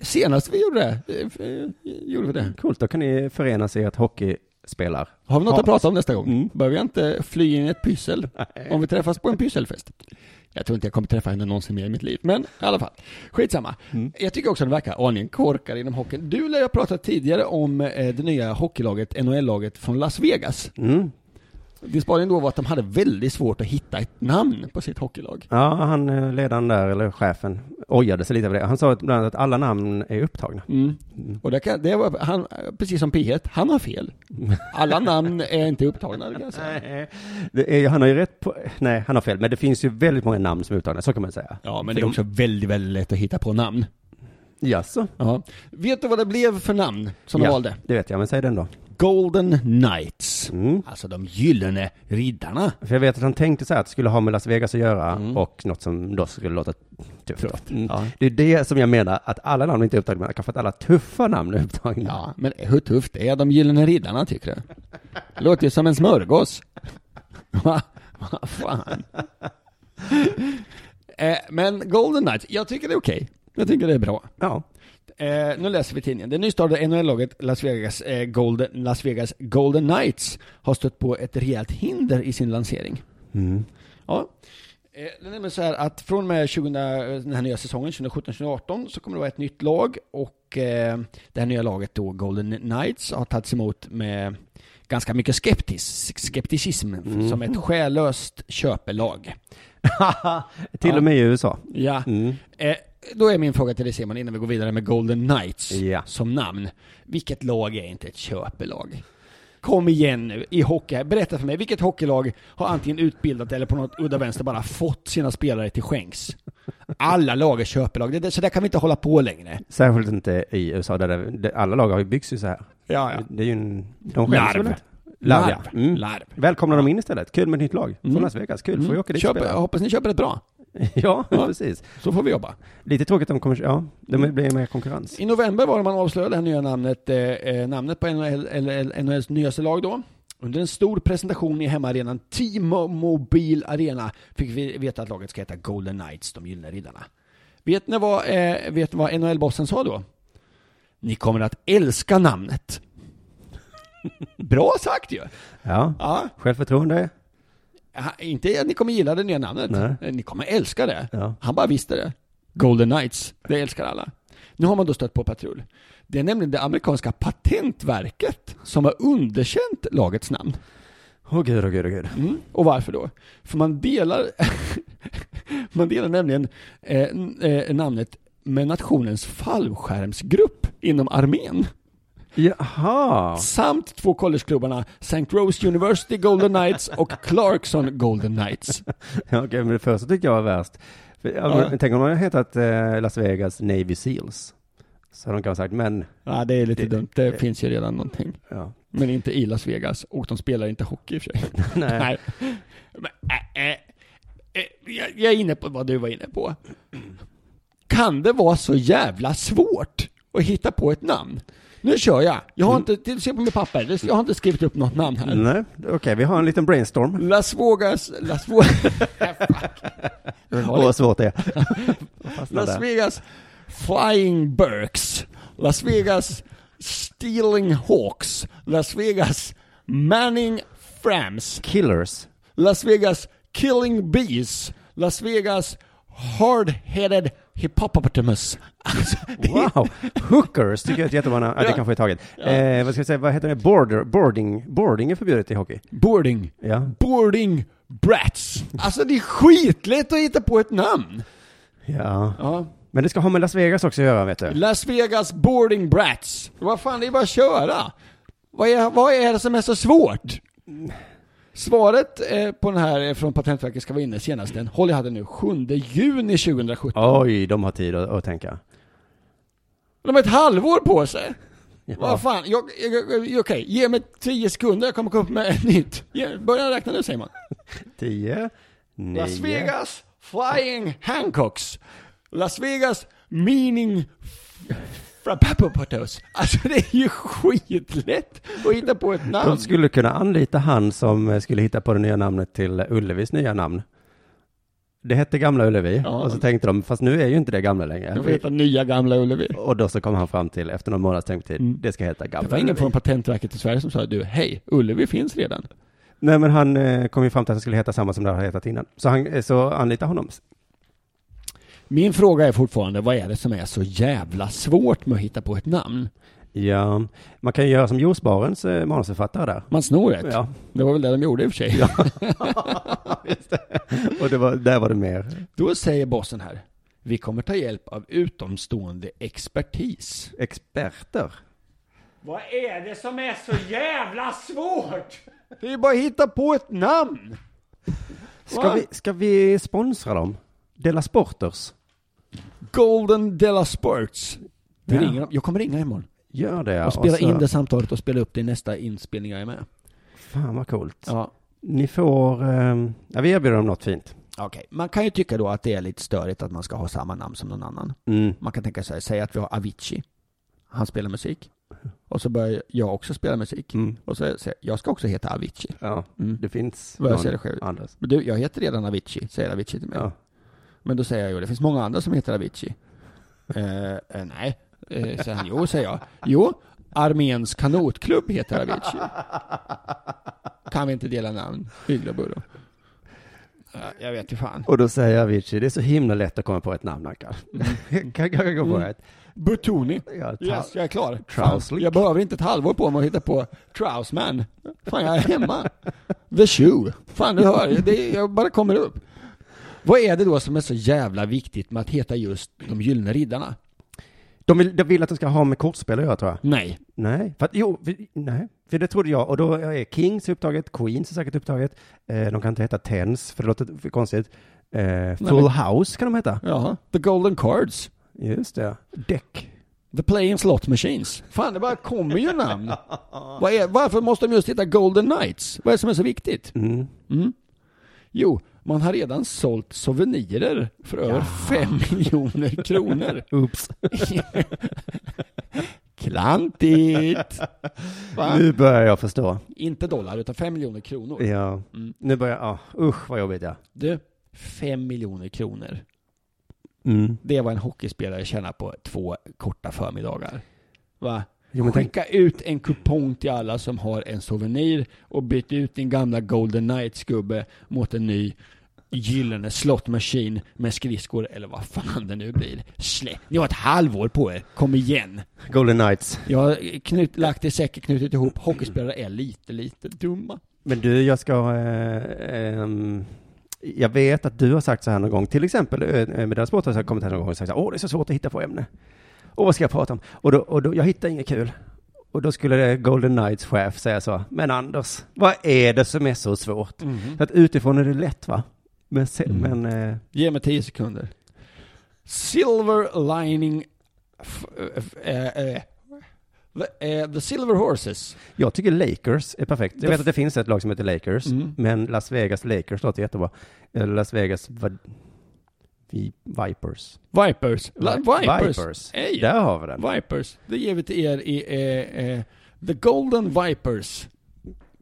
Senast vi gjorde det, eh, f- eh, gjorde vi det.
Coolt, då kan ni förenas i att hockeyspelar.
Har vi något
Ja.
att prata om nästa gång?
Mm.
Behöver jag inte fly in i ett pyssel? Om vi träffas på en pysselfest. Jag tror inte jag kommer träffa henne någonsin mer i mitt liv, men i alla fall. Skitsamma.
Mm.
Jag tycker också att den verkar aningen korkad inom hockeyn. Du lär ha pratat tidigare om eh, det nya hockeylaget, NHL-laget från Las Vegas.
Mm.
Din spaning då var att de hade väldigt svårt att hitta ett namn på sitt hockeylag.
Ja, han eh, ledaren där, eller chefen, ojade sig lite över det. Han sa att bland annat att alla namn är upptagna.
Mm. Och det, kan, det var, han, precis som P1, han har fel. Alla namn är inte upptagna, det kan jag säga.
Mm. Nej, det är, han har ju rätt på, nej han har fel, men det finns ju väldigt många namn som är upptagna, så kan man säga.
Ja, men det är också väldigt, väldigt lätt att hitta på namn.
Jaså?
Ja. Vet du vad det blev för namn som de valde?
det vet jag, men säg den då.
Golden Knights.
Mm.
Alltså de gyllene riddarna.
För jag vet att han tänkte så här att det skulle ha med Las Vegas att göra och något som då skulle låta tufft. då. Mm.
Mm. Ja.
Det är det som jag menar, att alla namn inte är upptagna, men kanske att alla tuffa namn är upptagna.
Ja, men hur tufft är de gyllene riddarna tycker du? Det låter ju som en smörgås. Va? Vad fan? Eh, men Golden Knights, jag tycker det är okej. Jag tycker det är bra.
Ja.
Eh, nu läser vi tidningen. Det nystartade NHL-laget Las, Vegas, eh, Golden, Las Vegas Golden Knights har stött på ett rejält hinder i sin lansering.
Mm.
Ja. Eh, Det är nämligen så här att från och med 20, den här nya säsongen, 2017-2018, så kommer det vara ett nytt lag och eh, det här nya laget då, Golden Knights, har tagits emot med ganska mycket skeptis, skepticism som ett själlöst köpelag.
Till och med i USA.
Ja.
Mm.
Eh, då är min fråga till dig Simon, innan vi går vidare med Golden Knights
Ja.
som namn. Vilket lag är inte ett köpelag? Kom igen nu, i hockey. här. Berätta för mig, vilket hockeylag har antingen utbildat eller på något udda vänster bara fått sina spelare till skänks? Alla lag är köpelag, det, det, så där kan vi inte hålla på längre.
Särskilt inte i USA, där det, det, alla lag har ju byggs ju så här.
Ja, ja.
Det är ju en... De skäms
Larv.
väl inte? Larv.
Larv.
ja. Mm.
Larv.
Välkomnar de in istället. Kul med ett nytt lag. Från
Mm.
Las Vegas. Kul, får vi åka dit och
Köp, jag
spela?
hoppas ni köper ett bra,
Ja,
Ja. Mm.
precis.
så får vi jobba.
Lite tråkigt om kommer... Ja, det blir mer konkurrens.
I november var det man avslöjade det här nya namnet, eh, eh, namnet på NHL, eller, NHLs nyaste lag då. Under en stor presentation i hemmaarenan T-Mobile Arena fick vi veta att laget ska heta Golden Knights, de gyllene riddarna. Vet ni vad, eh, vet ni vad NHL-bossen sa då? Ni kommer att älska namnet. Bra sagt ju!
Ja.
Ja,
Självförtroende?
ha- inte att ni kommer gilla det nya namnet.
Nej.
Eh, Ni kommer älska det.
Ja.
Han bara visste det. Golden Knights, det älskar alla. Nu har man då stött på patrull. Det är nämligen det amerikanska patentverket som har underkänt lagets namn.
Åh gud, åh gud, åh gud.
Mm. Och varför då? För man delar, man delar nämligen eh, n- eh, namnet med nationens fallskärmsgrupp inom armén.
Jaha.
Samt två collegeklubbarna St. Rose University Golden Knights och Clarkson Golden Knights.
Ja, okej, men det första tyckte jag var värst. För, ja,
Ja.
men Tänk om de hade hetat eh, Las Vegas Navy Seals. Så hade de kanske sagt, men...
Ja, det är lite
Det-
dumt. Det finns ju redan någonting.
Ja.
Men inte i Las Vegas och de spelar inte hockey i och för sig.
Nej.
Nej. Men, äh, äh, äh, jag, jag är inne på vad du var inne på. Kan det vara så jävla svårt att hitta på ett namn? Nu kör jag. Jag
Mm.
har inte, till- se på mitt papper, Det- jag har inte skrivit upp något namn här.
Nej, okej, vi har en liten brainstorm.
Las Vegas, Las Vegas,
Åh, vad svårt det är. Fastnar
Las
där.
Vegas Flying Burks, Las Vegas Stealing Hawks, Las Vegas Manning Frams,
Killers.
Las Vegas Killing Bees, Las Vegas Hard-Headed Hippopotamus. Alltså, det är-
Wow! Hookers tycker jag är ett jättebra namn. Ja, det
Ja.
kanske är taget. Eh, vad ska jag säga, vad heter det? Border, boarding. Boarding är förbjudet i hockey.
Boarding.
Ja.
Boarding Brats. Alltså det är skitlätt att hitta på ett namn.
Ja.
Ja.
Men det ska ha med Las Vegas också att göra, vet du.
Las Vegas Boarding Brats. Vad fan, det är bara att köra. Vad är, vad är det som är så svårt? Svaret eh, på den här eh, från Patentverket ska vara inne senast den, håll i hade nu, 7 juni 2017.
Oj, de har tid att, att tänka.
De har ett halvår på sig.
Ja.
Vad fan, jag, jag, jag, okej, ge mig 10 sekunder, jag kommer komma upp med ett nytt. Ge- Börja räkna nu säger man.
10, 9.
Las Vegas Flying Hancocks. Las Vegas Meaning Frappapopatos. Alltså det är ju skitlätt att hitta på ett namn.
De skulle kunna anlita han som eh, skulle hitta på det nya namnet till Ullevis nya namn. Det hette Gamla Ullevi
Ja.
och så tänkte de, fast nu är ju inte det gamla längre.
De får heta Nya Gamla Ullevi.
Och då så kom han fram till, efter någon månads tänketid,
Mm.
det ska heta
Det
Gamla
var ingen
Ullevi.
från Patentverket i Sverige som sa du, hej, Ullevi finns redan.
Nej men han eh, kom ju fram till att han skulle heta samma som det har hetat innan. Så han, eh, så anlita honom.
Min fråga är fortfarande, vad är det som är så jävla svårt med att hitta på ett namn?
Ja, man kan ju göra som Juicebarens eh, manusförfattare där.
Man snor ett.
Ja,
Det var väl det de gjorde i och för sig.
och det var, där var det mer
Då säger bossen här, vi kommer ta hjälp av utomstående expertis.
experter.
Vad är det som är så jävla svårt? Det är ju bara att hitta på ett namn.
Ska
Va?
vi, ska vi sponsra dem? Dela Sporters.
Golden Della Sports. Vi
Ja.
ringer dem. Jag kommer ringa imorgon
Gör det.
och spela
så-
in det samtalet och spela upp det i nästa inspelning jag är med.
Fan vad coolt.
Ja.
Ni får, ehm, ja, vi erbjuder dem något fint.
Okej, man kan ju tycka då att det är lite störigt att man ska ha samma namn som någon annan.
Mm.
Man kan tänka sig, säg att vi har Avicii. Han spelar musik. Och så börjar jag också spela musik.
Mm.
Och så säger jag, jag ska också heta Avicii.
Ja,
Mm.
det finns
Vad jag
någon
säger själv.
Anders.
Men du, jag heter redan Avicii, säger Avicii till mig.
Ja.
Men då säger jag ju, det finns många andra som heter Avicii. Eh, eh, nej, eh, säger han. Jo, säger jag. Jo, Arméns kanotklubb heter Avicii. Kan vi inte dela namn? Yglabo då. Eh, jag vet ju fan.
Och då säger Avicii, det är så himla lätt att komma på ett namn Ankan. kan kan jag gå på ett?
Butoni.
Ja, ta-
Mm. Yes, jag är klar.
Trouslick.
Fan, Jag behöver inte ett halvår på mig att hitta på Trousman. Fan, jag är hemma. The Shoe. Fan, du hör. Det är, jag bara kommer upp. Vad är det då som är så jävla viktigt med att heta just De Gyllene Riddarna?
De, vill, de vill att de ska ha med kortspel att göra tror jag.
Nej,
Nej, för att, jo, för, nej, för det trodde jag. Och då är Kings upptaget, Queens är säkert upptaget. Eh, de kan inte heta Tens, för det låter för konstigt. Eh, Full House kan de heta.
Jaha. The Golden Cards.
Just det. Däck.
The Playing Slot Machines. Fan, det bara kommer ju namn. Vad är, varför måste de just heta Golden Knights? Vad är det som är så viktigt?
Mm.
Jo, man har redan sålt souvenirer för över 5 miljoner kronor.
Oops.
Klantigt! Va?
Nu börjar jag förstå.
Inte dollar, utan 5 miljoner kronor.
Ja. Nu börjar, ja, usch vad jobbigt ja.
Du, 5 miljoner kronor. Det var en hockeyspelare tjänar på två korta förmiddagar. Va?
Jo, men tänk-
Skicka ut en kupong till alla som har en souvenir och byt ut din gamla Golden Knights-gubbe mot en ny gyllene slottmaskin med skridskor eller vad fan det nu blir. Slä. Ni har ett halvår på er, kom igen.
Golden Knights.
Jag har knut, lagt i säcker, knutit ihop, hockeyspelare är lite, lite dumma.
Men du, jag ska... Eh, ehm, jag vet att du har sagt så här någon gång, till exempel eh, med deras sport har jag kommit här någon gång och sagt så här, åh det är så svårt att hitta på ämne. Och vad ska jag prata om? Och då, och då jag hittar inget kul. Och då skulle det Golden Knights chef säga så, men Anders, vad är det som är så svårt? Så att utifrån är det lätt va? Men, se,
Mm.
men eh,
Ge mig 10 sekunder. Silver lining... F- f- eh, eh, the, eh, the Silver Horses.
jag tycker Lakers är perfekt. Jag
Det
vet
f-
att det finns ett lag som heter Lakers,
Mm.
men Las Vegas Lakers låter jättebra. Eller Las Vegas vad, Vi- Vipers.
Vipers. La, Vipers.
Vipers.
Ey,
Där har vi den.
Vipers. Det ger vi till er i... Eh, eh, the Golden Vipers.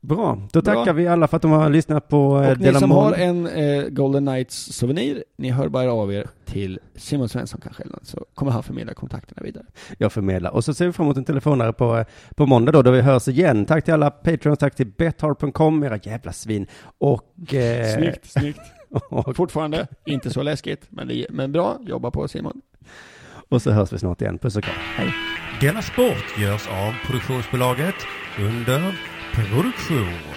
Bra, då
Bra.
tackar vi alla för att de har lyssnat på eh,
Och ni
Della
som
Mon.
har en eh, Golden Knights souvenir, ni hör bara av er till Simon Svensson kanske, eller något, så kommer han förmedla kontakterna vidare.
Jag förmedlar. Och så ser vi fram emot en telefonare på, eh, på måndag då, då vi hörs igen. Tack till alla patrons, tack till bethard.com, era jävla svin. Och... Eh,
Snyggt, snyggt.
Och,
Fortfarande inte så läskigt, men, det, men bra. Jobba på Simon.
och så hörs vi snart igen. Puss och kram.
Della Sport görs av produktionsbolaget under produktion.